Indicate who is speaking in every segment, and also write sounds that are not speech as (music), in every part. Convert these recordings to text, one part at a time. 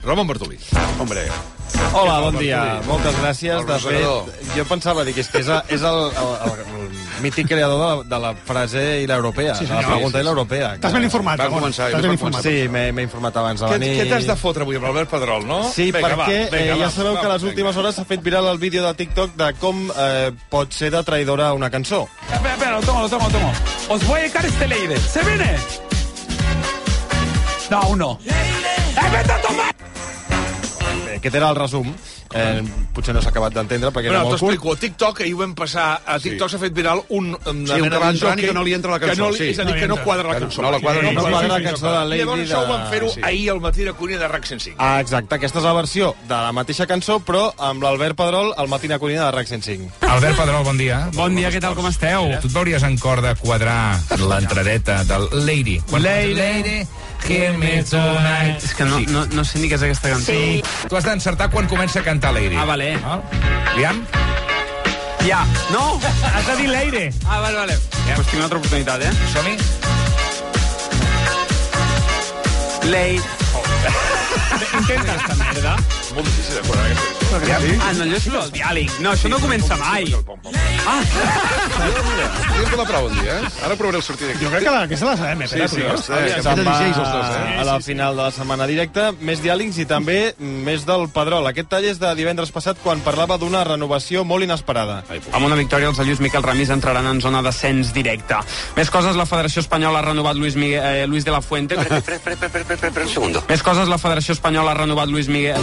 Speaker 1: Ramon Bartolí.
Speaker 2: Hombre,
Speaker 3: Hola, bon dia. Moltes gràcies.
Speaker 2: El
Speaker 3: De
Speaker 2: rosegador.
Speaker 3: fet, jo pensava dir que és, que és, el- és el, el, el, el mític creador de la, de la frase i l'europea, sí, la pregunta i l'europea.
Speaker 4: T'has ben informat,
Speaker 2: Va
Speaker 4: Ramon.
Speaker 2: començar,
Speaker 4: T'has
Speaker 2: va
Speaker 4: ben
Speaker 2: començar.
Speaker 4: informat.
Speaker 3: Sí, m'he m'he informat abans de
Speaker 1: Què,
Speaker 3: venir.
Speaker 1: què t'has de fotre avui amb l'Albert Pedrol, no?
Speaker 3: Sí,
Speaker 1: Vinga, va,
Speaker 3: perquè
Speaker 1: vinga,
Speaker 3: eh, ja
Speaker 1: va,
Speaker 3: sabeu
Speaker 1: va,
Speaker 3: que a les
Speaker 1: vinga.
Speaker 3: últimes hores s'ha fet viral el vídeo de TikTok de com eh, pot ser de traïdora una cançó.
Speaker 5: Espera, espera, lo tomo, lo tomo, lo tomo. Os voy a echar este leire. ¡Se viene! No, aún no. ¡Eh, vete a tomar!
Speaker 3: Bé, Aquest era el resum. Eh, potser no s'ha acabat d'entendre
Speaker 1: Però
Speaker 3: perquè era
Speaker 1: t'ho
Speaker 3: molt curt.
Speaker 1: explico. TikTok, ahir ho vam passar, a TikTok s'ha fet viral un... Una
Speaker 2: un
Speaker 1: nena
Speaker 2: cantant
Speaker 1: jockey
Speaker 2: que no li entra la
Speaker 1: Que no
Speaker 2: cançó,
Speaker 1: li,
Speaker 2: sí.
Speaker 1: és a dir,
Speaker 4: No li
Speaker 1: que no
Speaker 4: entra.
Speaker 1: quadra la
Speaker 2: Que no-
Speaker 1: cançó.
Speaker 2: no la quadra ni
Speaker 3: No
Speaker 2: sí,
Speaker 3: quadra
Speaker 2: sí,
Speaker 3: la
Speaker 2: sí,
Speaker 3: cançó de Lady
Speaker 1: Llavors això ho van fer-ho
Speaker 3: de...
Speaker 1: ahir al matí de Cunha de RAC 105.
Speaker 3: Ah, exacte, aquesta és la versió de la mateixa cançó, però amb l'Albert Pedrol al Matina Cunina de RAC 105.
Speaker 6: Albert Pedrol, bon dia.
Speaker 5: Bon dia, què tal, com esteu?
Speaker 6: Tu et veuries en cor de quadrar l'entradeta del Lady. Lady, Lady, hear me tonight.
Speaker 7: És que no, no, no sé ni què és aquesta cançó. Sí.
Speaker 6: Tu has d'encertar quan comença a cantar Lady.
Speaker 7: Ah, vale.
Speaker 6: Val? Aviam.
Speaker 7: Ja. No?
Speaker 5: Has de dir leire.
Speaker 7: Ah, vale, vale. Ja. Pues tinc una altra oportunitat, eh?
Speaker 6: Som-hi.
Speaker 7: Late.
Speaker 5: (laughs)
Speaker 1: Molt difícil de quadrar aquesta cançó.
Speaker 7: Ah, no, jo sóc el diàleg. No, això no comença mai.
Speaker 2: podríem donar prou un dia, eh? Ara provaré el sortir d'aquí.
Speaker 4: Jo crec que la, aquesta la sabem, eh? Pere, tu, no?
Speaker 2: Eh, que
Speaker 3: Se'n va
Speaker 2: dirigeix els dos, eh?
Speaker 3: a la final de la setmana directa, més diàlegs i també més del Pedrol. Aquest tall és de divendres passat quan parlava d'una renovació molt inesperada.
Speaker 7: Amb una victòria, els de Lluís Miquel Ramis entraran en zona d'ascens directe. Més coses, la Federació Espanyola ha renovat Luis, Miguel, eh, Luis de la Fuente. Més coses, la Federació Espanyola ha renovat Luis Miguel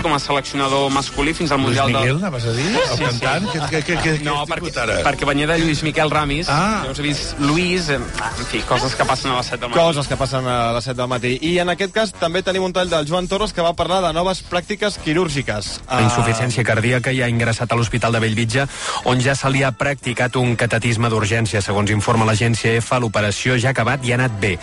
Speaker 7: com a seleccionador masculí fins al
Speaker 6: Luis
Speaker 7: Mundial del...
Speaker 6: Miguel, anaves a dir? El
Speaker 7: sí.
Speaker 6: cantant? Què, què, què, què,
Speaker 7: No,
Speaker 6: què has
Speaker 7: perquè,
Speaker 6: tingut ara?
Speaker 7: perquè venia de Lluís Miquel Ramis.
Speaker 6: Ah.
Speaker 7: Llavors he vist Luis... eh, En fi, coses que passen a les 7 del matí.
Speaker 3: Coses que passen a les 7 del matí. I en aquest cas també tenim un tall del Joan Torres que va parlar de noves pràctiques quirúrgiques.
Speaker 8: La insuficiència cardíaca i ha ingressat a l'Hospital de Bellvitge, on ja se li ha practicat un catatisme d'urgència. Segons informa l'agència EFA, l'operació ja ha acabat i ha anat bé.